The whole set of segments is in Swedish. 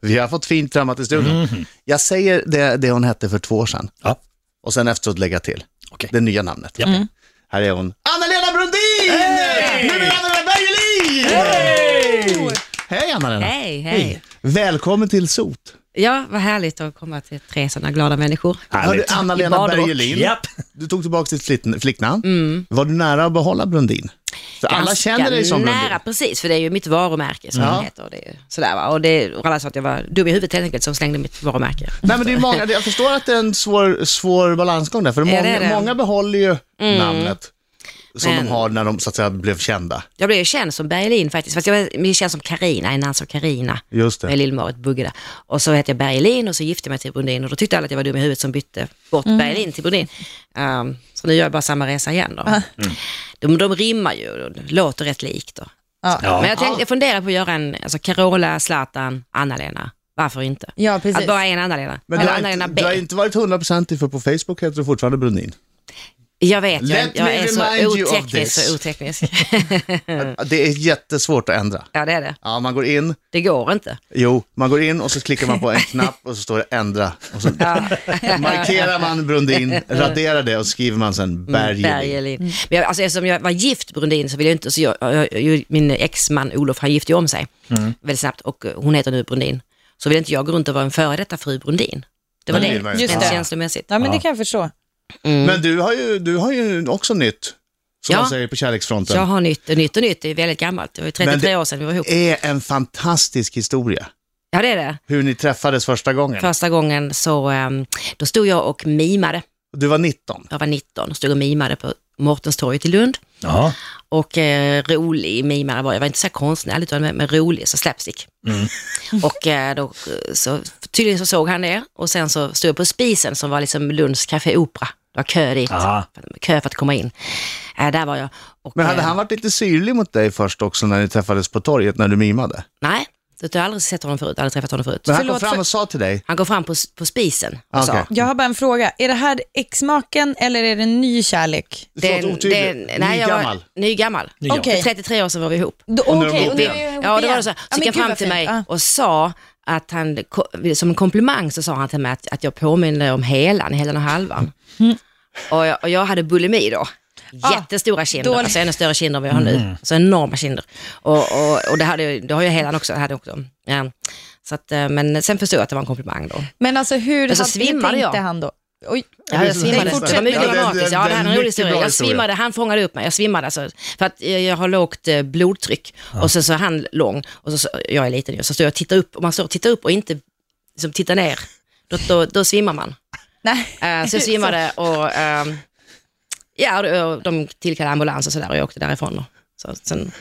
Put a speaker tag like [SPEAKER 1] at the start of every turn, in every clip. [SPEAKER 1] Vi har fått fint trammat i studion. Jag säger det, det hon hette för två år sedan
[SPEAKER 2] Mhm. Ja,
[SPEAKER 1] och sen efteråt lägga till
[SPEAKER 2] okej.
[SPEAKER 1] det nya namnet.
[SPEAKER 2] Ja.
[SPEAKER 3] Mm.
[SPEAKER 1] Här är hon. Anna-Lena Brundin! Nu är Anna-Lena Bergelin! Hej Anna-Lena!
[SPEAKER 3] Hej, hej.
[SPEAKER 1] Välkommen till SOT.
[SPEAKER 3] Ja, vad härligt att komma till tre sådana glada människor.
[SPEAKER 1] Hörde
[SPEAKER 2] Härligt.
[SPEAKER 3] I
[SPEAKER 1] Anna-Lena
[SPEAKER 3] badrock. Mm.
[SPEAKER 1] Bergelin.
[SPEAKER 2] Japp.
[SPEAKER 1] Du tog tillbaka ditt flitt- flicknamn. Var du nära att behålla Brundin? För alla
[SPEAKER 3] Ganska
[SPEAKER 1] känner dig som
[SPEAKER 3] nära,
[SPEAKER 1] Brundin.
[SPEAKER 3] precis, för det är ju mitt varumärke som
[SPEAKER 1] Ja.
[SPEAKER 3] det heter. Och, det är, ju sådär, va? Och, det, och alla sa att jag var dum i huvudet helt enkelt som slängde mitt varumärke.
[SPEAKER 1] Nej, men det är många, jag förstår att det är en svår, svår balansgång där, för många,
[SPEAKER 3] det är det.
[SPEAKER 1] många behåller ju namnet som
[SPEAKER 3] Men-
[SPEAKER 1] de har när de så att säga, blev kända.
[SPEAKER 3] Jag blev ju känd som Bergelin faktiskt, fast jag var mer känd som Karina innan som Karina
[SPEAKER 1] Just
[SPEAKER 3] med
[SPEAKER 1] det.
[SPEAKER 3] lillmåret Bugge där. Och så hette jag Bergelin och så gifte jag mig till Brundin och då tyckte alla att jag var dum i huvudet som bytte bort Bergelin till Brundin. Ehm, så nu gör jag bara samma resa igen då.
[SPEAKER 1] Mm.
[SPEAKER 3] De, de rimmar ju, och de låter rätt likt då.
[SPEAKER 2] Ja.
[SPEAKER 3] Men jag, tänkte, jag funderar på att göra en, alltså Carola, Zlatan, Anna-Lena. Varför inte?
[SPEAKER 4] Ja, precis.
[SPEAKER 3] Att bara en Anna-Lena.
[SPEAKER 1] Men du
[SPEAKER 3] Eller
[SPEAKER 1] har,
[SPEAKER 3] Anna-Lena
[SPEAKER 1] inte,
[SPEAKER 3] B.
[SPEAKER 1] du har inte varit hundraprocentig, för på Facebook heter du fortfarande Brundin.
[SPEAKER 3] Jag vet,
[SPEAKER 1] Let
[SPEAKER 3] jag, jag
[SPEAKER 1] me
[SPEAKER 3] är så
[SPEAKER 1] remind you of
[SPEAKER 3] oteknisk.
[SPEAKER 1] this.
[SPEAKER 3] Så oteknisk. Mm.
[SPEAKER 1] Det är jättesvårt att ändra.
[SPEAKER 3] ja, det är det.
[SPEAKER 1] Ja, man går in,
[SPEAKER 3] Det går inte.
[SPEAKER 1] jo, man går in och så klickar man på en knapp och så står det ändra. Och så markerar man
[SPEAKER 3] Mm.
[SPEAKER 1] Brundin, raderar det och skriver man sen Bergelin.
[SPEAKER 3] Bergelin. Men jag, alltså, eftersom jag var gift Brundin så vill jag inte, så jag, jag, jag, min exman Olof han gifte ju om sig
[SPEAKER 1] Mm.
[SPEAKER 3] väldigt snabbt och eh, hon heter nu Brundin. Så vill inte jag gå runt och vara en före detta fru Brundin. Det var
[SPEAKER 1] Nej,
[SPEAKER 3] det,
[SPEAKER 1] det var
[SPEAKER 3] det,
[SPEAKER 1] ju-
[SPEAKER 4] Just det.
[SPEAKER 3] känslomässigt.
[SPEAKER 4] Ja, men det kan jag förstå.
[SPEAKER 1] Men du har, ju, du har ju också nytt, som
[SPEAKER 3] Ja.
[SPEAKER 1] man säger på kärleksfronten.
[SPEAKER 3] Jag har nytt och nytt och nytt, det är väldigt gammalt. Det var ju
[SPEAKER 1] Men
[SPEAKER 3] 33
[SPEAKER 1] det-
[SPEAKER 3] år sedan vi var ihop.
[SPEAKER 1] är en fantastisk historia.
[SPEAKER 3] Ja, det är det.
[SPEAKER 1] Hur ni träffades första gången.
[SPEAKER 3] Första gången så, ehm, då stod jag och mimade.
[SPEAKER 1] Du var 19.
[SPEAKER 3] Jag var 19 och stod och mimade på Mårtenstorget i Lund.
[SPEAKER 2] Ja.
[SPEAKER 3] Och eh, rolig mimare var jag. Jag var inte så här konstnärlig utan men, men rolig, så slapstick.
[SPEAKER 1] Mm.
[SPEAKER 3] Och eh, då, eh, så, tydligen så såg han det och sen så stod jag på spisen som var liksom Lunds Café Opera. Det var kö dit,
[SPEAKER 2] Aha.
[SPEAKER 3] kö för att komma in. Eh, där var jag. Och,
[SPEAKER 1] Men hade
[SPEAKER 3] eh,
[SPEAKER 1] han varit lite syrlig mot dig först också när ni träffades på torget när du mimade?
[SPEAKER 3] Nej, jag har aldrig sett honom förut, aldrig träffat honom förut.
[SPEAKER 1] Men han
[SPEAKER 4] Förlåt
[SPEAKER 1] kom fram
[SPEAKER 4] för-
[SPEAKER 1] och sa till dig,
[SPEAKER 3] Han går fram på, s- på spisen och
[SPEAKER 1] Ah,
[SPEAKER 3] sa,
[SPEAKER 1] okej.
[SPEAKER 4] Jag har bara en fråga. Är det här exmaken eller är det en ny kärlek?
[SPEAKER 1] det är
[SPEAKER 3] är-
[SPEAKER 1] otydligt,
[SPEAKER 3] nej, jag var-
[SPEAKER 1] nygammal.
[SPEAKER 3] ny gammal.
[SPEAKER 2] Ny gammal.
[SPEAKER 4] Okej.
[SPEAKER 3] För 33 år sedan var vi ihop.
[SPEAKER 4] Då-
[SPEAKER 1] Och nu är de
[SPEAKER 4] Okej, och nu är
[SPEAKER 1] ihop igen.
[SPEAKER 4] jag ihop
[SPEAKER 3] Ja, det var
[SPEAKER 4] igen.
[SPEAKER 3] det så.
[SPEAKER 4] Ja,
[SPEAKER 3] Så
[SPEAKER 4] men
[SPEAKER 3] gick han
[SPEAKER 4] gud,
[SPEAKER 3] fram
[SPEAKER 4] vad
[SPEAKER 3] till
[SPEAKER 4] fint.
[SPEAKER 3] mig
[SPEAKER 4] Ja.
[SPEAKER 3] och sa att han, som en komplimang så sa han till mig att, att jag påminner om helan, helan och halvan. Och, jag, och jag hade bulimi då. Jättestora kinder,
[SPEAKER 4] Ah, dålig- Mm.
[SPEAKER 3] alltså ännu större kinder än vad jag har nu. Så enorma kinder. Och, och, och det, hade, ju- det har ju helan också. Hade också. Ja. Så att, eh, men sen förstod jag att det var en komplimang då.
[SPEAKER 4] Men alltså hur,
[SPEAKER 3] Men så
[SPEAKER 4] hade-
[SPEAKER 3] svimmade
[SPEAKER 4] hur tänkte
[SPEAKER 3] jag.
[SPEAKER 4] han då? Oj.
[SPEAKER 3] Ja,
[SPEAKER 1] Det är
[SPEAKER 3] jag
[SPEAKER 1] så-
[SPEAKER 3] svimmade.
[SPEAKER 4] Nej,
[SPEAKER 3] Det
[SPEAKER 4] fortsätt.
[SPEAKER 3] var mycket
[SPEAKER 4] Ja, det- det-
[SPEAKER 3] dramatiskt. Ja, det här är en rolig
[SPEAKER 1] mycket
[SPEAKER 3] historia.
[SPEAKER 1] bra
[SPEAKER 3] Jag
[SPEAKER 1] historia.
[SPEAKER 3] svimmade, han fångade upp mig. Jag svimmade alltså. För att eh, jag har lågt eh, blodtryck. Och sen så är han lång. Och så, så, jag är liten ju. Så står jag och tittar upp. Om man står och tittar upp och inte liksom, tittar ner, då, då, då svimmar man.
[SPEAKER 4] Nej.
[SPEAKER 3] Eh, så jag svimmade och ehm, ja, och- och de tillkallade ambulans och sådär och jag åkte därifrån. Då. Så, sen,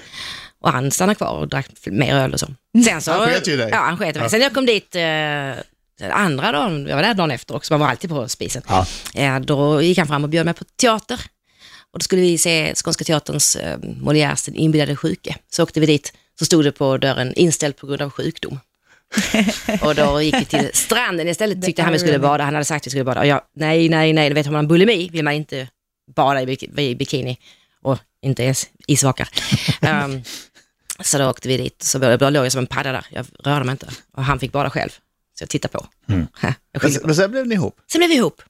[SPEAKER 3] och han stannade kvar och drack mer öl och så. Sen så
[SPEAKER 1] Han sket ju i dig.
[SPEAKER 3] Ja, han sket i mig. Sen jag kom dit eh, den andra dagen, jag var där dagen efter också, man var alltid på spisen.
[SPEAKER 2] Ja.
[SPEAKER 3] Eh, då gick han fram och bjöd mig på teater. Och då skulle vi se Skånska Teaterns eh, Molières Den inbillade sjuke. Så åkte vi dit, så stod det på dörren inställd på grund av sjukdom. och då gick vi till stranden istället, tyckte han vi skulle bada. Han hade sagt att vi skulle bada. Och jag, nej, nej, nej, du vet har man bulimi vill man inte bada i bik- i bikini och inte ens isvakar. Ehm, så då åkte vi dit, så då låg jag som en padda där. Jag rörde mig inte och han fick bada själv. Så jag tittade på. Jag
[SPEAKER 1] Men,
[SPEAKER 3] skyllde
[SPEAKER 1] sen-
[SPEAKER 3] på.
[SPEAKER 1] men sen blev ni ihop.
[SPEAKER 3] Sen blev vi ihop,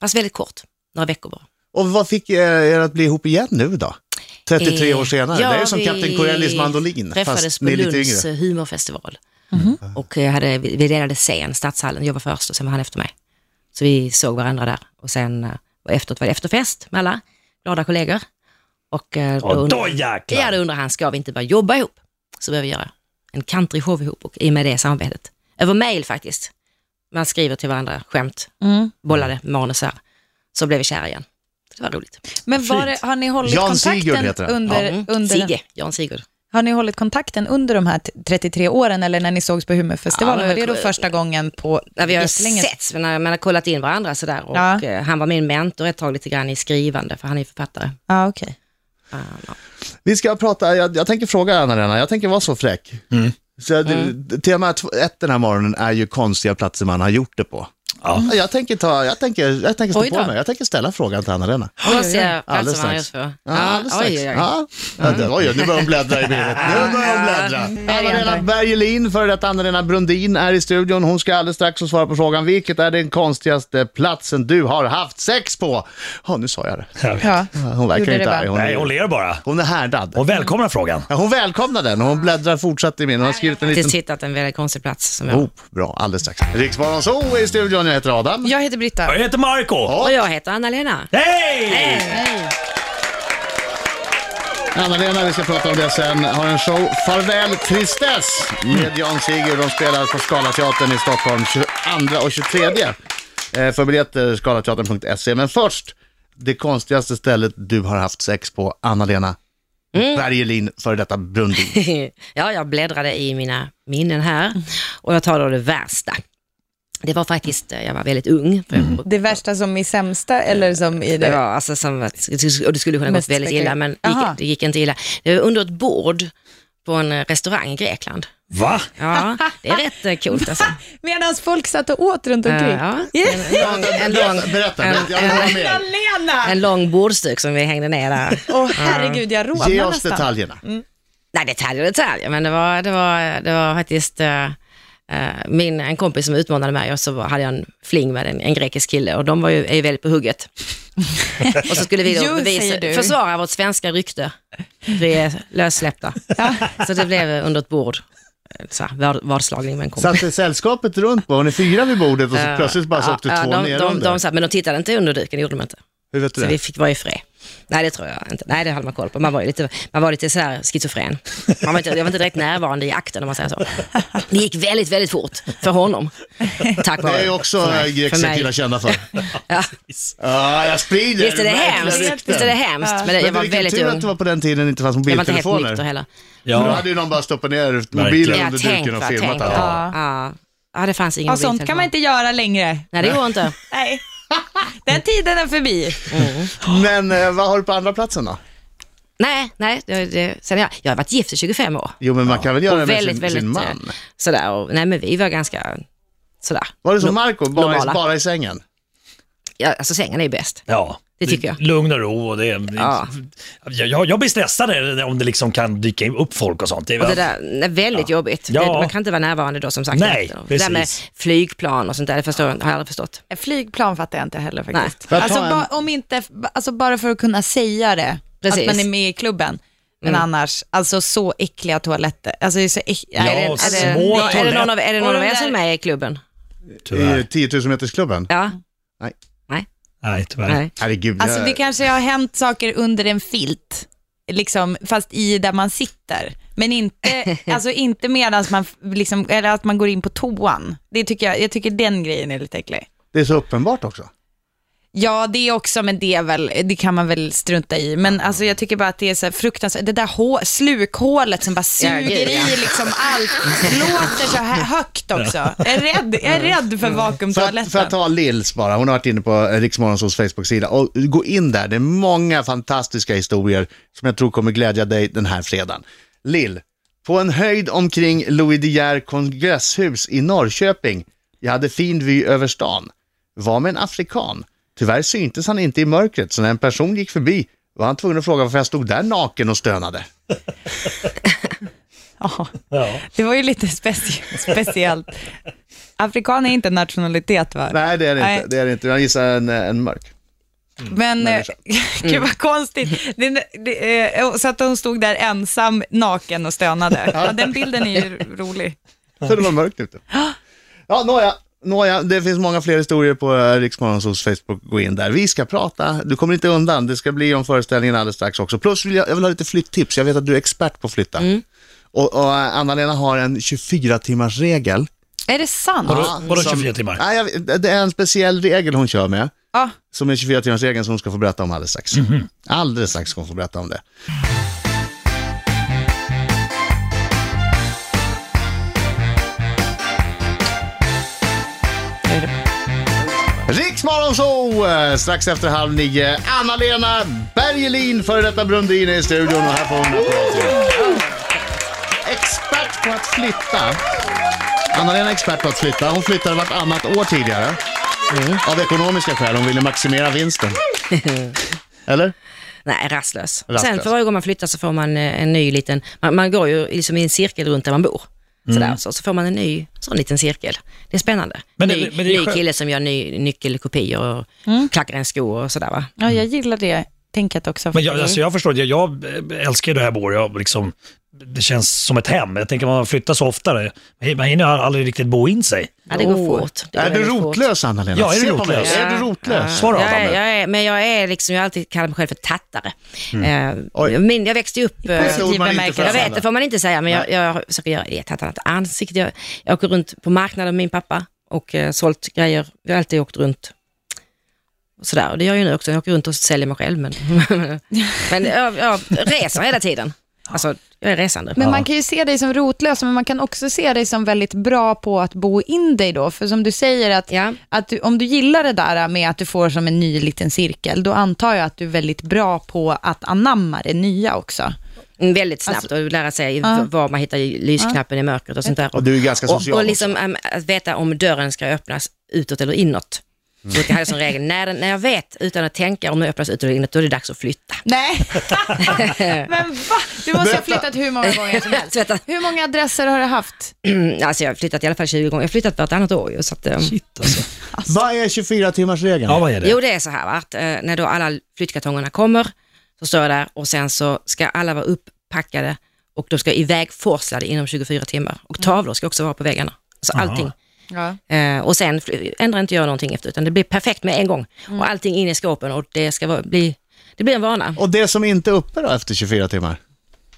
[SPEAKER 3] fast väldigt kort, några veckor bara.
[SPEAKER 1] Och vad fick er, er att bli ihop igen nu då? 33
[SPEAKER 3] Eh,
[SPEAKER 1] år senare,
[SPEAKER 3] ja,
[SPEAKER 1] det är ju som
[SPEAKER 3] vi
[SPEAKER 1] Kapten Corellis mandolin,
[SPEAKER 3] träffades
[SPEAKER 1] fast
[SPEAKER 3] på
[SPEAKER 1] ni är lite yngre. Mm-hmm.
[SPEAKER 3] Lunds humorfestival. Och jag hade, vi vi delade scen, Stadshallen, jag var först och sen var han efter mig. Så vi såg varandra där och sen eh, och efteråt var det efterfest med alla glada kollegor. Och eh,
[SPEAKER 2] Och
[SPEAKER 3] und-
[SPEAKER 2] då
[SPEAKER 3] ja, då
[SPEAKER 2] jäklar.
[SPEAKER 3] undrar han, ska vi inte bara jobba ihop? Så började vi göra en countryshow ihop och i och med det samarbetet. Över mail faktiskt. Man skriver till varandra skämt,
[SPEAKER 4] Mm.
[SPEAKER 3] bollade manusar. Så blev vi kära igen. Det var roligt.
[SPEAKER 4] Men var det, har ni hållit
[SPEAKER 1] Jan
[SPEAKER 4] kontakten
[SPEAKER 1] Sigurd heter han.
[SPEAKER 4] under,
[SPEAKER 5] Eh,
[SPEAKER 3] Mm.
[SPEAKER 4] under,
[SPEAKER 3] Sigge, Jan Sigurd.
[SPEAKER 4] har ni hållit kontakten under de här t- 33 åren eller när ni sågs på
[SPEAKER 3] Ja,
[SPEAKER 4] Humorfestivalen?
[SPEAKER 3] men-
[SPEAKER 4] var det då första gången på
[SPEAKER 3] Ja, vi har
[SPEAKER 4] jättelänge?
[SPEAKER 3] setts, men man har kollat in varandra sådär. Och
[SPEAKER 4] Ja.
[SPEAKER 3] eh, Han var min mentor ett tag lite grann i skrivande, för han är författare.
[SPEAKER 4] Ja, okej.
[SPEAKER 3] Ja, ja.
[SPEAKER 1] Vi ska prata, jag, jag tänker fråga Anna-Lena, jag tänker vara så
[SPEAKER 2] Mm.
[SPEAKER 1] fräck. Så jag, Tema två- ett den här morgonen är ju konstiga platser man har gjort det på. Ja. Jag tänker, ta, jag tänker, jag tänker stå
[SPEAKER 3] Oj
[SPEAKER 1] på
[SPEAKER 3] då.
[SPEAKER 1] mig. Jag tänker ställa frågan till Anna-Lena.
[SPEAKER 3] Då ser jag
[SPEAKER 1] Alldeles
[SPEAKER 3] chansen man
[SPEAKER 1] strax.
[SPEAKER 3] just får.
[SPEAKER 1] Ja, alldeles strax.
[SPEAKER 3] oj, oj, oj.
[SPEAKER 1] Ja. Ja, det- Oj, nu börjar hon bläddra i minnet. Nu börjar hon bläddra. Anna-Lena Bergelin, före detta Anna-Lena Brundin, är i studion. Hon ska alldeles strax få svara på frågan, vilket är den konstigaste platsen du har haft sex på? Ja, nu sa jag det.
[SPEAKER 5] Ja.
[SPEAKER 1] Ja, Hon verkar
[SPEAKER 5] Gjorde det
[SPEAKER 1] inte
[SPEAKER 5] va?
[SPEAKER 1] arg. Hon
[SPEAKER 2] Nej, hon
[SPEAKER 1] är,
[SPEAKER 2] ler bara.
[SPEAKER 1] hon är härdad.
[SPEAKER 2] Hon välkomnar frågan.
[SPEAKER 1] Ja, Hon välkomnar den och hon bläddrar fortsatt i min. Hon har skrivit en
[SPEAKER 3] Jag har
[SPEAKER 1] liten...
[SPEAKER 3] faktiskt hittat en väldigt konstig plats som jag...
[SPEAKER 1] Oh, bra, alldeles strax. Riksmorgon så är i studion, jag heter Adam.
[SPEAKER 5] Jag heter Britta.
[SPEAKER 2] Jag heter Marco.
[SPEAKER 3] Och jag heter Anna-Lena.
[SPEAKER 2] Hej!
[SPEAKER 1] Anna-Lena, vi ska prata om det sen, har en show, Farväl Tristess, med Jan Sigurd. De spelar på Scalateatern i Stockholm 22 och 23. Eh, För biljetter skalateatern.se. Men först, det konstigaste stället du har haft sex på, Anna-Lena
[SPEAKER 3] Mm.
[SPEAKER 1] Bergelin, före detta Brundin.
[SPEAKER 3] ja, jag bläddrade i mina minnen här och jag tar då det värsta. Det var faktiskt, eh, jag var väldigt ung. För
[SPEAKER 1] Mm.
[SPEAKER 3] jag,
[SPEAKER 5] Det värsta som i sämsta eller som i
[SPEAKER 3] det
[SPEAKER 5] det...
[SPEAKER 3] var, alltså, som, att- och det skulle kunna gått
[SPEAKER 5] Mest
[SPEAKER 3] väldigt illa,
[SPEAKER 5] spektakulärt.
[SPEAKER 3] men det
[SPEAKER 5] Aha.
[SPEAKER 3] gick, det gick inte illa. Det var under ett bord på en eh, restaurang i Grekland.
[SPEAKER 2] Va?
[SPEAKER 3] Ja, det är rätt eh, coolt
[SPEAKER 5] Typ,
[SPEAKER 3] alltså.
[SPEAKER 5] Medan folk satt och åt runt
[SPEAKER 3] Eh,
[SPEAKER 5] omkring.
[SPEAKER 3] Ja,
[SPEAKER 5] Yeah.
[SPEAKER 3] en, lång, en, lång,
[SPEAKER 1] Berätta, berätta,
[SPEAKER 3] en-
[SPEAKER 1] jag vill höra mer.
[SPEAKER 5] Lena!
[SPEAKER 3] en lång bordsduk som vi hängde ner där.
[SPEAKER 5] Åh herregud, jag rodnar
[SPEAKER 1] Ge oss
[SPEAKER 5] nästan.
[SPEAKER 1] detaljerna.
[SPEAKER 3] Nej, detaljer och detaljer, men det var, det var, det var faktiskt eh, eh, min, en kompis som utmanade mig och så var- hade jag en fling med en, en grekisk kille och de var ju, är ju väldigt på hugget. och så skulle vi
[SPEAKER 5] Jo,
[SPEAKER 3] då
[SPEAKER 5] säger du.
[SPEAKER 3] bevisa, försvara vårt svenska rykte. Vi är lössläppta. så det blev under ett bord, eh, så här, vard- vardslagning med en kompis.
[SPEAKER 1] Satt det sällskapet runt på, var ni fyra vid bordet och så plötsligt bara så åkte
[SPEAKER 3] Ja,
[SPEAKER 1] två
[SPEAKER 3] de,
[SPEAKER 1] ner
[SPEAKER 3] de, de,
[SPEAKER 1] under?
[SPEAKER 3] de, sa- Men de tittade inte under duken, det gjorde de inte.
[SPEAKER 1] Hur vet du
[SPEAKER 3] Så vi
[SPEAKER 1] det?
[SPEAKER 3] fick vara i fred. Nej, det tror jag inte. Nej, det hade man koll på. Man var ju lite, man var lite så här schizofren. Man var inte, jag var inte direkt närvarande i akten om man säger så. Det gick väldigt, väldigt fort för honom. Tack
[SPEAKER 1] Det
[SPEAKER 3] vare
[SPEAKER 1] är ju också eh, grekiska killar kända för.
[SPEAKER 3] Ja.
[SPEAKER 1] Ja, jag sprider
[SPEAKER 3] Visst är det
[SPEAKER 1] verkliga
[SPEAKER 3] hemskt?
[SPEAKER 1] rykten.
[SPEAKER 3] Visst är det hemskt? Men det, jag
[SPEAKER 1] Men
[SPEAKER 3] var
[SPEAKER 1] det är
[SPEAKER 3] väldigt
[SPEAKER 1] tur att det
[SPEAKER 3] ung.
[SPEAKER 1] var på den tiden det inte fanns
[SPEAKER 3] Jag var inte helt
[SPEAKER 1] mobiltelefoner.
[SPEAKER 3] nykter heller.
[SPEAKER 1] För Då
[SPEAKER 2] Ja.
[SPEAKER 1] hade ju någon bara stoppat ner mobilen
[SPEAKER 2] Verkligen.
[SPEAKER 3] Ja,
[SPEAKER 1] under
[SPEAKER 3] tänk
[SPEAKER 1] duken och
[SPEAKER 3] vad,
[SPEAKER 1] filmat
[SPEAKER 3] tänk
[SPEAKER 1] allt.
[SPEAKER 3] vad.
[SPEAKER 5] Ja.
[SPEAKER 3] Ja. ja, det fanns ingen
[SPEAKER 5] Ja, sånt kan man inte göra längre.
[SPEAKER 3] Nej, det går inte.
[SPEAKER 5] Nej. Den tiden är förbi.
[SPEAKER 1] Men eh, vad har du på andra platsen då?
[SPEAKER 3] Nej, nej. Det, det, sen jag, jag har varit gift i 25 år.
[SPEAKER 1] Jo, men man kan väl göra det
[SPEAKER 3] Och
[SPEAKER 1] med
[SPEAKER 3] väldigt,
[SPEAKER 1] sin,
[SPEAKER 3] väldigt
[SPEAKER 1] sin
[SPEAKER 3] eh,
[SPEAKER 1] man?
[SPEAKER 3] sådär. Och, nej, men vi var ganska sådär.
[SPEAKER 1] Var det som
[SPEAKER 3] No-
[SPEAKER 1] Marco bara, i-
[SPEAKER 3] normala.
[SPEAKER 1] bara i sängen?
[SPEAKER 3] Ja, alltså sängen är ju bäst.
[SPEAKER 2] Ja.
[SPEAKER 3] Det tycker jag.
[SPEAKER 2] Lugn och ro och det... Ja.
[SPEAKER 3] Ja.
[SPEAKER 2] Jag, jag blir stressad om det liksom kan dyka upp folk och sånt. Det är
[SPEAKER 3] Och
[SPEAKER 2] väl-
[SPEAKER 3] det där är väldigt jobbigt.
[SPEAKER 2] Ja.
[SPEAKER 3] Det, man kan inte vara närvarande då som sagt.
[SPEAKER 2] Nej,
[SPEAKER 3] efter. Det
[SPEAKER 2] precis.
[SPEAKER 3] där med flygplan och sånt där, det förstår, har jag aldrig förstått.
[SPEAKER 5] Flygplan fattar jag inte heller faktiskt.
[SPEAKER 1] Får jag ta
[SPEAKER 5] Alltså,
[SPEAKER 1] en-
[SPEAKER 5] ba, om inte, alltså bara för att kunna säga det,
[SPEAKER 3] Precis.
[SPEAKER 5] att man är med i klubben. Men annars, alltså så äckliga toaletter. Alltså det är så äck... Ja,
[SPEAKER 2] och
[SPEAKER 5] är det,
[SPEAKER 2] små
[SPEAKER 5] är det,
[SPEAKER 2] Åh,
[SPEAKER 3] är det någon av, är det någon
[SPEAKER 5] Och
[SPEAKER 3] av
[SPEAKER 5] de
[SPEAKER 3] er
[SPEAKER 5] där-
[SPEAKER 3] som är med i klubben?
[SPEAKER 1] I
[SPEAKER 2] Tyvärr.
[SPEAKER 1] 10 000-metersklubben?
[SPEAKER 3] Ja,
[SPEAKER 2] Nej, tyvärr.
[SPEAKER 3] nej.
[SPEAKER 1] Herregud.
[SPEAKER 5] alltså det
[SPEAKER 1] jag-
[SPEAKER 5] kanske har hänt saker under en filt, liksom, fast i där man sitter. Men inte, alltså inte medan man, f- liksom, eller att man går in på toan. Det tycker jag, jag tycker den grejen är lite äcklig.
[SPEAKER 1] Det är så uppenbart också.
[SPEAKER 5] Ja, det är också, men det, är väl, det kan man väl strunta i. Men alltså, jag tycker bara att det är så här fruktansvärt. Det där hå- slukhålet som bara suger
[SPEAKER 3] gud, ja.
[SPEAKER 5] i liksom allt. Låter så här högt också. Jag är rädd, jag är rädd för
[SPEAKER 1] För
[SPEAKER 5] vakuumtoaletten.
[SPEAKER 1] att, för att ta Lils bara, hon har varit inne på eh, Riksmorgonsols Facebook-sida. Och gå in där, det är många fantastiska historier som jag tror kommer glädja dig den här fredagen. Lill, på en höjd omkring Louis De Geer kongresshus i Norrköping. Jag hade fin vy över stan. Var med en afrikan. Tyvärr syntes han inte i mörkret, så när en person gick förbi var han tvungen att fråga varför jag stod där naken och stönade.
[SPEAKER 5] Ja,
[SPEAKER 2] Ja.
[SPEAKER 5] det var ju lite speci- speciellt. Afrikan är inte en nationalitet va?
[SPEAKER 1] Nej, det är det
[SPEAKER 5] Nej.
[SPEAKER 1] inte. Det är det inte. Jag gissar en, en mörk.
[SPEAKER 5] Men eh, gud
[SPEAKER 4] Mm.
[SPEAKER 5] vad konstigt. Det, det, eh, så att hon stod där ensam, naken och stönade. Ja, den bilden är ju rolig.
[SPEAKER 1] För det var mörkt ute. Ja, nåja. Nåja, det finns många fler historier på Riksmorgonsols Facebook. Gå in där. Vi ska prata. Du kommer inte undan. Det ska bli om föreställningen alldeles strax också. Plus vill jag, jag vill ha lite flytttips. Jag vet att du är expert på att flytta. Och, och Anna-Lena har en 24-timmars regel.
[SPEAKER 5] Är det sant?
[SPEAKER 2] Vadå- Vadå 24 timmar?
[SPEAKER 1] Nej, jag vet- det är en speciell regel hon kör med.
[SPEAKER 5] Ja.
[SPEAKER 1] Som är 24-timmarsregeln som hon ska få berätta om alldeles strax.
[SPEAKER 2] Mhm.
[SPEAKER 1] Alldeles strax ska hon få berätta om det. Riksmorgon så eh, strax efter halv nio. Anna-Lena Bergelin, före detta Brundin, är i studion och här får hon en applåd till. Expert på att flytta. Anna-Lena är expert på att flytta. Hon flyttade vartannat år tidigare.
[SPEAKER 2] Mm.
[SPEAKER 1] Av ekonomiska skäl, hon ville maximera vinsten. Eller?
[SPEAKER 3] Nej, rastlös.
[SPEAKER 1] Rastlös.
[SPEAKER 3] Sen för varje gång man flyttar så får man eh, en ny liten, man, man går ju liksom i en cirkel runt där man bor.
[SPEAKER 2] Mm.
[SPEAKER 3] Sådär, så, så får man en ny sån liten cirkel. Det är spännande.
[SPEAKER 2] Men det-
[SPEAKER 3] ny,
[SPEAKER 2] men det är
[SPEAKER 3] ny
[SPEAKER 2] skönt.
[SPEAKER 3] kille som gör ny, nyckelkopior och
[SPEAKER 5] Mm.
[SPEAKER 3] klackar en sko och sådär va.
[SPEAKER 4] Ja, jag gillar det tänket också.
[SPEAKER 2] Men jag, alltså jag förstår, jag, jag älskar ju det här bor. Jag liksom, det känns som ett hem. Jag tänker man flyttar så oftare. Men Man hinner aldrig riktigt bo in sig.
[SPEAKER 3] Ja, det går fort. Det går
[SPEAKER 1] Är du
[SPEAKER 3] väldigt fort.
[SPEAKER 1] rotlös, Anna-Lena?
[SPEAKER 2] Ja, är du
[SPEAKER 1] Se på mig.
[SPEAKER 2] rotlös?
[SPEAKER 1] Är du rotlös?
[SPEAKER 2] Svara
[SPEAKER 3] Jag
[SPEAKER 2] Adam.
[SPEAKER 3] är, jag är, men jag är liksom, jag har alltid kallat mig själv för tattare.
[SPEAKER 1] Oj.
[SPEAKER 3] Eh, min, jag växte upp... eh,
[SPEAKER 1] Dessa ord man inte
[SPEAKER 4] bemärkelse.
[SPEAKER 1] får
[SPEAKER 3] Jag
[SPEAKER 4] Jag
[SPEAKER 3] vet,
[SPEAKER 1] använda.
[SPEAKER 3] det får man inte säga, men jag, jag försöker göra det. Jag tattar inte ansiktet. Jag, jag åker runt på marknaden med min pappa och eh, sålt grejer. Jag har alltid åkt runt. Och Sådär, och det gör jag ju nu också. Jag åker runt och säljer mig själv. Men, men jag, jag reser hela tiden. Alltså, jag är resande.
[SPEAKER 5] Men man kan ju se dig som rotlös, men man kan också se dig som väldigt bra på att bo in dig då. För som du säger, att,
[SPEAKER 3] Ja.
[SPEAKER 5] att du, om du gillar det där med att du får som en ny liten cirkel, då antar jag att du är väldigt bra på att anamma det nya också.
[SPEAKER 3] Mm, Väldigt snabbt och lära sig v- var man hittar lysknappen i mörkret och sånt där.
[SPEAKER 1] Och du är ganska social
[SPEAKER 3] Och, och liksom, äm, att veta om dörren ska öppnas utåt eller inåt.
[SPEAKER 5] Mm.
[SPEAKER 3] Så jag hade som regel, när, den, när jag vet utan att tänka om den öppnas utåt eller inåt, då är det dags att flytta.
[SPEAKER 5] Nej, men va? Du måste ha flyttat hur många gånger som helst.
[SPEAKER 3] Tvätta.
[SPEAKER 5] Hur många adresser har du haft?
[SPEAKER 3] alltså jag har flyttat i alla fall 20 gånger. Jag har flyttat vartannat år ju. Så att, ehm,
[SPEAKER 2] Shit alltså.
[SPEAKER 1] Vad är 24-timmarsregeln?
[SPEAKER 2] Ja, vad är det?
[SPEAKER 3] jo, det är så här va, att eh, när då alla flyttkartongerna kommer så står jag där och sen så ska alla vara upppackade och de ska ivägforslade inom 24 timmar. Och tavlor ska också vara på väggarna. Så allting.
[SPEAKER 5] Ja.
[SPEAKER 3] Eh, och sen fly- ändrar inte jag någonting efter utan det blir perfekt med en gång.
[SPEAKER 5] Mm.
[SPEAKER 3] Och allting in i skåpen och det ska vara, bli, det blir en vana.
[SPEAKER 1] Och det som inte är uppe då efter 24 timmar?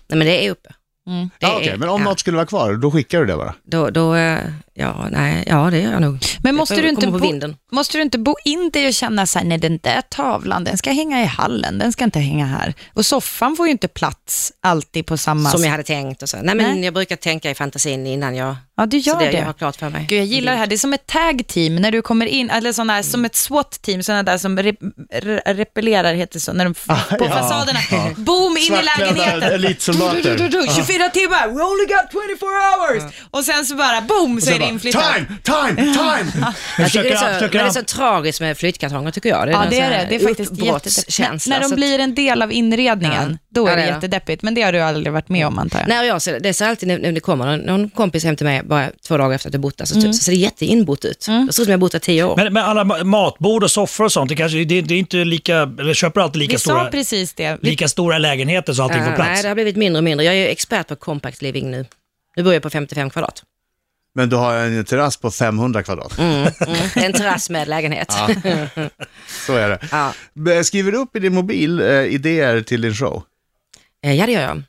[SPEAKER 3] Nej men det är uppe.
[SPEAKER 5] Mm.
[SPEAKER 3] Det
[SPEAKER 1] Ja, okej,
[SPEAKER 3] är-
[SPEAKER 1] men om
[SPEAKER 3] ja,
[SPEAKER 1] något skulle vara kvar, då skickar du det bara?
[SPEAKER 3] Då, då, eh, ja, nej, ja det gör jag nog.
[SPEAKER 5] Men måste
[SPEAKER 3] får
[SPEAKER 5] du, inte
[SPEAKER 3] komma på
[SPEAKER 5] bo,
[SPEAKER 3] vinden.
[SPEAKER 5] måste du inte bo in dig och känna så här, nej den där tavlan, den ska hänga i hallen, den ska inte hänga här. Och soffan får ju inte plats alltid på samma...
[SPEAKER 3] Som jag hade tänkt och så. Nej men jag brukar tänka i fantasin innan jag
[SPEAKER 5] Ja, du gör
[SPEAKER 3] så det,
[SPEAKER 5] det.
[SPEAKER 3] jag har klart för mig.
[SPEAKER 5] Gud, jag gillar det här. Det är som ett tag team när du kommer in, eller sådana här,
[SPEAKER 3] Mm.
[SPEAKER 5] som ett SWAT-team, sådana där som re, re, repellerar, heter det så, när de,
[SPEAKER 1] Ah,
[SPEAKER 5] på fasaderna. Boom, in i lägenheten. Du, du,
[SPEAKER 1] elitsoldater.
[SPEAKER 5] du, 24 timmar, we only got 24 hours! Och sen så bara boom, så är det
[SPEAKER 1] Bara,
[SPEAKER 5] inflyttat.
[SPEAKER 1] Time, time, time!
[SPEAKER 2] Jag
[SPEAKER 3] Jag tycker alltså, det,
[SPEAKER 2] försöker,
[SPEAKER 3] är så,
[SPEAKER 2] försöker,
[SPEAKER 3] men det är så tragiskt med flyttkartonger tycker jag.
[SPEAKER 5] Ja,
[SPEAKER 3] en
[SPEAKER 5] det är
[SPEAKER 3] sån
[SPEAKER 5] det.
[SPEAKER 3] här
[SPEAKER 5] Det är faktiskt jättedeppigt.
[SPEAKER 3] uppbrottskänsla.
[SPEAKER 5] När
[SPEAKER 3] Så
[SPEAKER 5] de
[SPEAKER 3] att-
[SPEAKER 5] blir en del av inredningen,
[SPEAKER 3] Ja.
[SPEAKER 5] då är
[SPEAKER 3] Ja, det är
[SPEAKER 5] det
[SPEAKER 3] det.
[SPEAKER 5] jättedeppigt. Men det har du aldrig varit med om, antar jag.
[SPEAKER 3] Nej, och jag, ser det. det är så alltid när, när det kommer någon, någon kompis hem till mig bara två dagar efter att jag bott där, så, typ-
[SPEAKER 1] Mm.
[SPEAKER 3] så ser det jätteinbott ut. Jag ser ut som jag bott där tio år.
[SPEAKER 2] Men, men alla ma- matbord och soffor och sånt, det, kanske, det, det är inte lika, eller köper alltid lika
[SPEAKER 5] Vi sa
[SPEAKER 2] stora,
[SPEAKER 5] precis Ah, det. Vi-
[SPEAKER 2] lika stora lägenheter så allting
[SPEAKER 3] Ja,
[SPEAKER 2] får plats.
[SPEAKER 3] Eh, nej, det har blivit mindre och mindre. Jag är ju expert på compact living nu. Nu bor jag på 55 kvadrat.
[SPEAKER 1] Men du har en terrass på 500 kvadrat.
[SPEAKER 3] Mm, mm. Det är En terrass med lägenhet. Ja.
[SPEAKER 1] Så är det.
[SPEAKER 3] Ja.
[SPEAKER 1] Men Skriver du upp i din mobil eh, idéer till din show?
[SPEAKER 3] Eh, ja, det gör jag.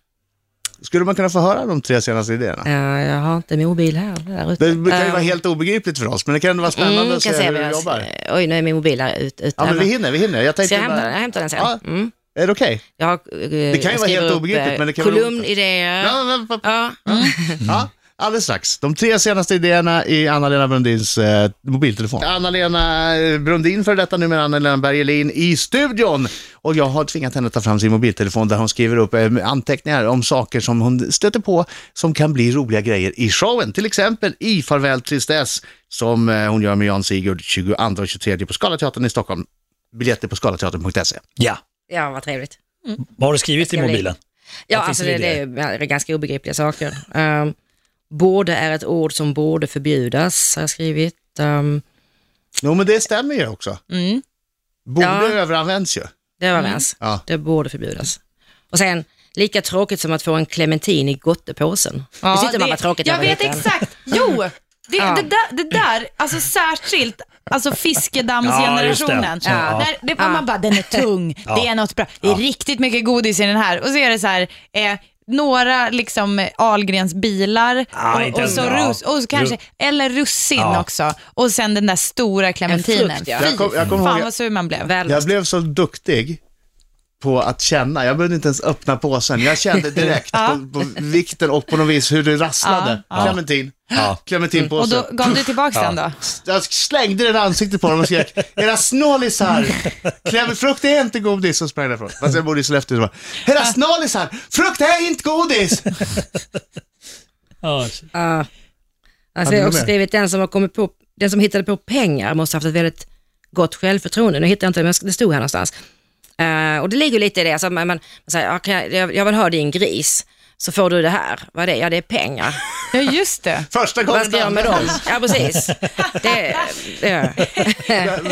[SPEAKER 1] Skulle man kunna få höra de tre senaste idéerna?
[SPEAKER 3] Eh, Jag har inte mobil här. Där ute.
[SPEAKER 1] Det kan ju vara
[SPEAKER 3] Eh,
[SPEAKER 1] helt obegripligt för oss, men det kan vara spännande
[SPEAKER 3] mm,
[SPEAKER 1] att
[SPEAKER 3] kan
[SPEAKER 1] se
[SPEAKER 3] säga
[SPEAKER 1] hur du
[SPEAKER 3] vad jag- eh,
[SPEAKER 1] jobbar.
[SPEAKER 3] Oj, nu är min mobil här ute.
[SPEAKER 1] Ja, men vi hinner, vi hinner. Jag
[SPEAKER 3] Så
[SPEAKER 1] tänkte
[SPEAKER 3] jag hämtar, den, jag
[SPEAKER 1] bara,
[SPEAKER 3] hämtar den sen.
[SPEAKER 1] Ja.
[SPEAKER 3] Mm.
[SPEAKER 1] är det okej?
[SPEAKER 3] Jag har, eh, det
[SPEAKER 1] kan ju vara helt obegripligt, men det kan vara roligt.
[SPEAKER 3] eh, kolumnidéer. Ja.
[SPEAKER 1] Ja, men- Mm. Ja, alldeles strax. De tre senaste idéerna i Anna-Lena Brundins eh, mobiltelefon. Anna-Lena eh, Brundin, för detta numera Anna-Lena Bergelin, i studion. Och jag har tvingat henne att ta fram sin mobiltelefon där hon skriver upp eh, anteckningar om saker som hon stöter på som kan bli roliga grejer i showen. Till exempel i Farväl Tristess som eh, hon gör med Jan Sigurd 22 och 23 på Scalateatern i Stockholm. Biljetter på skalateatern.se.
[SPEAKER 2] Ja.
[SPEAKER 3] ja, vad trevligt.
[SPEAKER 2] Vad har du skrivit i
[SPEAKER 3] Ska bli-
[SPEAKER 2] mobilen?
[SPEAKER 3] Ja,
[SPEAKER 2] Vad finns
[SPEAKER 3] alltså
[SPEAKER 2] det
[SPEAKER 3] det,
[SPEAKER 2] i
[SPEAKER 3] det är ju ganska obegripliga saker. Um, borde är ett ord som borde förbjudas, har jag skrivit. Um,
[SPEAKER 1] Jo, men det stämmer ju också. Borde
[SPEAKER 3] Ja.
[SPEAKER 1] överanvänds ju.
[SPEAKER 3] det var vänst.
[SPEAKER 1] Ja.
[SPEAKER 3] Det borde förbjudas. Och sen, lika tråkigt som att få en clementin i gottepåsen. Ja, Visst inte man
[SPEAKER 5] det-
[SPEAKER 3] vad tråkigt
[SPEAKER 5] Jag
[SPEAKER 3] när man var
[SPEAKER 5] vet
[SPEAKER 3] liten?
[SPEAKER 5] exakt. Jo, det,
[SPEAKER 3] Ja.
[SPEAKER 5] det, där, det där, alltså särskilt alltså
[SPEAKER 2] Ja,
[SPEAKER 5] fiskedammsgenerationen.
[SPEAKER 2] just det. Ja.
[SPEAKER 5] Där, det var man bara, den är tung, det är något bra. Det är riktigt mycket godis i den här. Och så är det så här, eh, några liksom eh, Ahlgrens bilar
[SPEAKER 2] Ah,
[SPEAKER 5] och,
[SPEAKER 2] inte
[SPEAKER 5] och,
[SPEAKER 2] ens-
[SPEAKER 5] så
[SPEAKER 2] ja.
[SPEAKER 5] rus, och så kanske,
[SPEAKER 2] Ru-
[SPEAKER 5] eller russin
[SPEAKER 2] Ja.
[SPEAKER 5] också. Och sen den där stora clementinen.
[SPEAKER 3] En frukt, ja.
[SPEAKER 5] Fy
[SPEAKER 1] Jag kom- jag kommer
[SPEAKER 5] fan
[SPEAKER 1] ihåg-
[SPEAKER 5] vad sur man blev.
[SPEAKER 1] Jag
[SPEAKER 3] Värdelöst.
[SPEAKER 1] blev så duktig på att känna, jag behövde inte ens öppna påsen. Jag kände direkt på, på vikten och på något vis hur det rasslade. Clementin,
[SPEAKER 2] Ja.
[SPEAKER 5] Mm. Och
[SPEAKER 1] clementinpåse.
[SPEAKER 5] då gav du tillbaka den då?
[SPEAKER 1] Jag slängde den i ansiktet på dem och skrek, era snålisar, Clem- frukt är inte godis. Och sprang därifrån. Fast jag bodde i Sollefteå. så bara, Era snålisar, frukt är inte godis.
[SPEAKER 2] Ja,
[SPEAKER 3] Ja. Alltså,
[SPEAKER 1] Hade
[SPEAKER 3] jag har
[SPEAKER 1] du
[SPEAKER 3] också
[SPEAKER 1] mer?
[SPEAKER 3] skrivit den som har kommit på, den som hittade på pengar måste ha haft ett väldigt gott självförtroende. Nu hittar jag inte, men det stod här någonstans. Eh, och det ligger lite i det, alltså, man, man, man säger, "Ja, kan jag, jag, jag vill ha din gris, så får du det här. Vad är det? Ja, det är pengar.
[SPEAKER 5] Ja, just det.
[SPEAKER 1] Första
[SPEAKER 3] Vad
[SPEAKER 1] gången
[SPEAKER 3] ska jag göra med dem? Ja, precis. Det, det,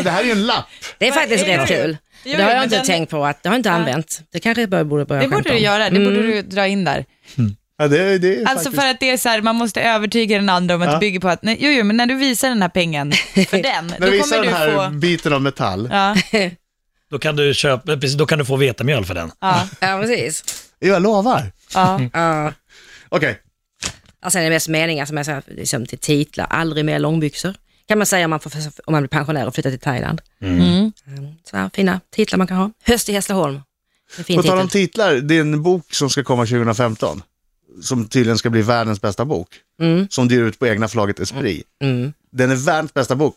[SPEAKER 1] Det här är ju en lapp.
[SPEAKER 3] det är faktiskt
[SPEAKER 5] är
[SPEAKER 3] rätt
[SPEAKER 5] det?
[SPEAKER 3] kul.
[SPEAKER 5] Jo,
[SPEAKER 3] det har jag
[SPEAKER 5] jo, men
[SPEAKER 3] inte
[SPEAKER 5] den-
[SPEAKER 3] tänkt på, att, det har jag inte använt. Det kanske jag bara borde börja
[SPEAKER 5] Det
[SPEAKER 3] skämta
[SPEAKER 5] borde du
[SPEAKER 3] om.
[SPEAKER 5] göra, det borde du dra in där.
[SPEAKER 1] Ja, det, det är
[SPEAKER 5] Alltså
[SPEAKER 1] faktiskt...
[SPEAKER 5] för att det är så här, man måste övertyga den andra om att det bygger på att, nej, jo, jo, men när du visar den här pengen för den,
[SPEAKER 1] När
[SPEAKER 5] då
[SPEAKER 1] du visar
[SPEAKER 5] kommer
[SPEAKER 1] den
[SPEAKER 5] du
[SPEAKER 1] här
[SPEAKER 5] få...
[SPEAKER 1] biten av metall.
[SPEAKER 5] Ja,
[SPEAKER 2] Då kan du, köpa, precis, då kan du få vetemjöl för den.
[SPEAKER 5] ja,
[SPEAKER 3] Ja, precis.
[SPEAKER 1] Jag lovar.
[SPEAKER 5] ja.
[SPEAKER 3] Ja.
[SPEAKER 1] Okej,
[SPEAKER 3] Och sen är det mest meningar som är så här, liksom till titlar, aldrig mer långbyxor. Kan man säga om man, får, om man blir pensionär och flyttar till Thailand.
[SPEAKER 5] Mm.
[SPEAKER 3] Mm, Så här, fina titlar man kan ha. Höst i Hässleholm. En fin
[SPEAKER 1] på tal om
[SPEAKER 3] titel.
[SPEAKER 1] titlar, det är en bok som ska komma 2015. Som tydligen ska bli världens bästa bok.
[SPEAKER 3] Mm,
[SPEAKER 1] Som du ger ut på egna förlaget Esprit.
[SPEAKER 3] mm.
[SPEAKER 1] Den är världens bästa bok.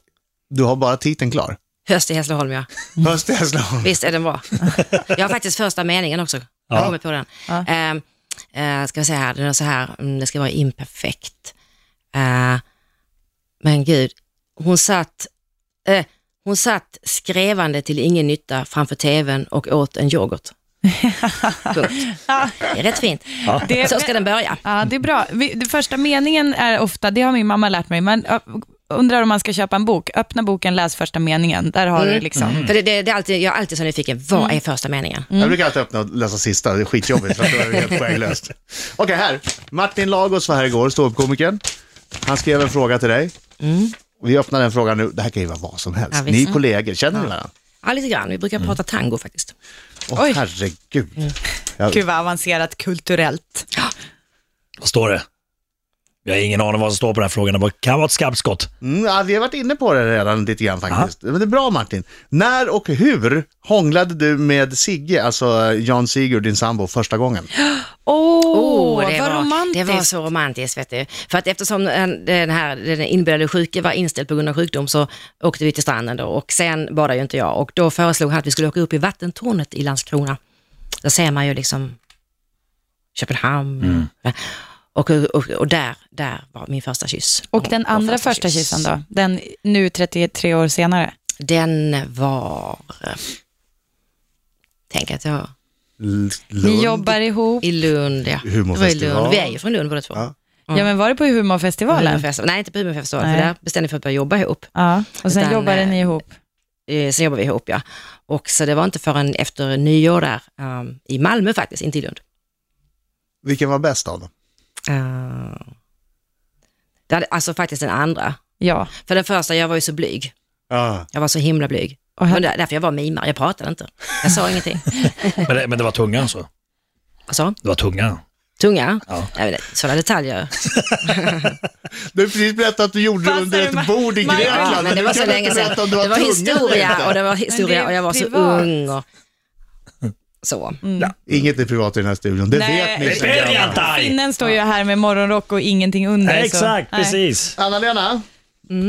[SPEAKER 1] Du har bara titeln klar.
[SPEAKER 3] Höst i Hässleholm ja.
[SPEAKER 1] Höst i Hässleholm.
[SPEAKER 3] Visst är den bra. Jag har faktiskt första meningen också. Jag kommer på den.
[SPEAKER 5] Ja.
[SPEAKER 3] Ehm, eh, ska vi se här, den är så här, mm, det ska vara imperfekt. Eh, men gud, hon satt, eh, hon satt skrevande till ingen nytta framför tvn och åt en yoghurt. Punkt. Det är rätt fint.
[SPEAKER 5] Det,
[SPEAKER 3] Så ska den börja.
[SPEAKER 5] ja, det är bra. Vi, den första meningen är ofta, det har min mamma lärt mig, man ö, undrar om man ska köpa en bok, öppna boken, läs första meningen, där har
[SPEAKER 1] Mm.
[SPEAKER 5] du liksom.
[SPEAKER 3] För det, det, det är alltid, jag är alltid så nyfiken, vad
[SPEAKER 5] Mm.
[SPEAKER 3] är första meningen?
[SPEAKER 1] Jag brukar alltid öppna och läsa sista, det är skitjobbigt för att det är helt poänglöst. Okej, här. Martin Lagos var här igår, ståuppkomikern. Han skrev en fråga till dig. Vi öppnar den frågan nu. Det här kan ju vara vad som helst.
[SPEAKER 3] Mm. Ja, visst.
[SPEAKER 1] Ni är kollegor, känner ni varandra?
[SPEAKER 3] Ja, lite grann. Vi
[SPEAKER 5] Mm.
[SPEAKER 3] brukar prata tango faktiskt.
[SPEAKER 1] Åh, herregud. Jag,
[SPEAKER 5] Gud vad avancerat kulturellt.
[SPEAKER 2] Vad står det? Jag har ingen aning om vad som står på den här frågan. Det bara kan vara ett skarpskott.
[SPEAKER 1] Mm, ja, vi har varit inne på det redan lite grann faktiskt. Men det är bra Martin. När och hur hånglade du med Sigge, alltså Jan Sigurd, din sambo, första gången?
[SPEAKER 5] Åh,
[SPEAKER 3] Åh, det
[SPEAKER 5] vad
[SPEAKER 3] var, det
[SPEAKER 5] romantiskt.
[SPEAKER 3] var så romantiskt vet du. För att eftersom den den här den inbillade sjuke var inställd på grund av sjukdom så åkte vi till stranden då och sen badade ju inte jag och då föreslog han att vi skulle åka upp i vattentornet i Landskrona. Där ser man ju liksom Köpenhamn och, och, och där, där var min första kyss.
[SPEAKER 5] Och den
[SPEAKER 3] Vår
[SPEAKER 5] andra första kyssen då? Den nu 33 år senare?
[SPEAKER 3] Den var... Tänk att jag...
[SPEAKER 1] L-
[SPEAKER 5] Ni
[SPEAKER 1] Lund?
[SPEAKER 5] jobbar ihop.
[SPEAKER 3] I Lund ja. Det var i Lund.
[SPEAKER 1] Humorfestival.
[SPEAKER 3] Vi är ju från Lund båda två.
[SPEAKER 1] Ja.
[SPEAKER 5] Ja, men var det på humorfestivalen?
[SPEAKER 3] Humorfestival. Nej, inte på Humorfestivalen, för
[SPEAKER 5] Mm. Nej.
[SPEAKER 3] där bestämde vi för att börja jobba ihop.
[SPEAKER 5] Ja, och sen
[SPEAKER 3] Utan,
[SPEAKER 5] jobbade
[SPEAKER 3] eh,
[SPEAKER 5] ni ihop.
[SPEAKER 3] Eh, sen jobbade vi ihop ja. Och så det var inte förrän efter nyår där, ehm, i Malmö faktiskt, inte i Lund.
[SPEAKER 1] Vilken var bäst av dem?
[SPEAKER 3] Eh, det hade, alltså faktiskt den andra.
[SPEAKER 5] Ja.
[SPEAKER 3] För den första, jag var ju så blyg.
[SPEAKER 1] Ja.
[SPEAKER 3] Jag var så himla blyg.
[SPEAKER 5] Och
[SPEAKER 3] Men
[SPEAKER 5] här,
[SPEAKER 3] där, därför jag var mimare, jag pratade inte. Jag sa ingenting.
[SPEAKER 2] Men det, men det var tunga alltså.
[SPEAKER 3] Alltså,
[SPEAKER 2] Det var tunga.
[SPEAKER 3] tunga,
[SPEAKER 2] Ja.
[SPEAKER 3] Jag vet inte, sådana detaljer.
[SPEAKER 1] Du har precis berättat att du gjorde det
[SPEAKER 5] Passar
[SPEAKER 1] under
[SPEAKER 5] det
[SPEAKER 1] ett
[SPEAKER 5] med-
[SPEAKER 1] bord i
[SPEAKER 5] Man-
[SPEAKER 1] Grekland.
[SPEAKER 3] Ja, men det
[SPEAKER 1] du
[SPEAKER 3] var så
[SPEAKER 1] kan
[SPEAKER 3] länge
[SPEAKER 1] inte
[SPEAKER 3] sedan.
[SPEAKER 1] berätta om du
[SPEAKER 3] Det var
[SPEAKER 1] tunga eller
[SPEAKER 3] historia
[SPEAKER 1] inte.
[SPEAKER 3] och det var
[SPEAKER 5] Men det
[SPEAKER 3] historia
[SPEAKER 5] är
[SPEAKER 3] och jag var så
[SPEAKER 5] privat.
[SPEAKER 3] ung och så.
[SPEAKER 1] Inget är privat i den här studion, det
[SPEAKER 5] Nej.
[SPEAKER 1] vet ni
[SPEAKER 5] Det
[SPEAKER 1] sen gammalt.
[SPEAKER 2] Bergantaj!
[SPEAKER 5] Finnen står ju här med morgonrock och ingenting under. så-
[SPEAKER 2] Exakt,
[SPEAKER 5] Nej.
[SPEAKER 2] precis.
[SPEAKER 1] Anna-Lena,
[SPEAKER 3] Mm.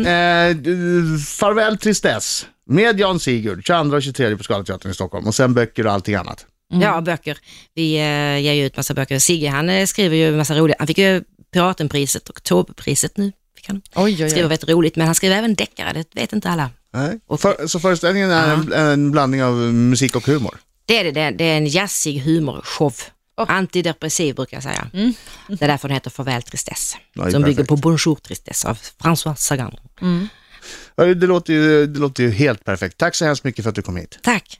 [SPEAKER 1] eh, du- Farväl Tristess med Jan Sigurd, 22 och 23 på Scalateatern i Stockholm och sen böcker och allting annat.
[SPEAKER 3] Ja, böcker. Vi eh, ger ju ut massa böcker. Sigge han eh, skriver ju massa roliga, han fick ju Piratenpriset och Taubepriset nu. Fick han.
[SPEAKER 5] Oj, oj,
[SPEAKER 3] skriver
[SPEAKER 5] oj.
[SPEAKER 3] väldigt roligt, men han skriver även deckare, det vet inte alla.
[SPEAKER 1] Nej. För, så föreställningen är en, en blandning av musik och humor.
[SPEAKER 3] Det är det, det är- det är en jazzig humorshow.
[SPEAKER 5] Och-
[SPEAKER 3] Antidepressiv brukar jag säga. Det är därför den heter Farväl tristess.
[SPEAKER 1] Ja,
[SPEAKER 3] som bygger
[SPEAKER 1] perfekt.
[SPEAKER 3] på Bonjour tristess av François Sagan.
[SPEAKER 1] Ja, Det låter, ju, det låter ju helt perfekt. Tack så hemskt mycket för att du kom hit.
[SPEAKER 3] Tack!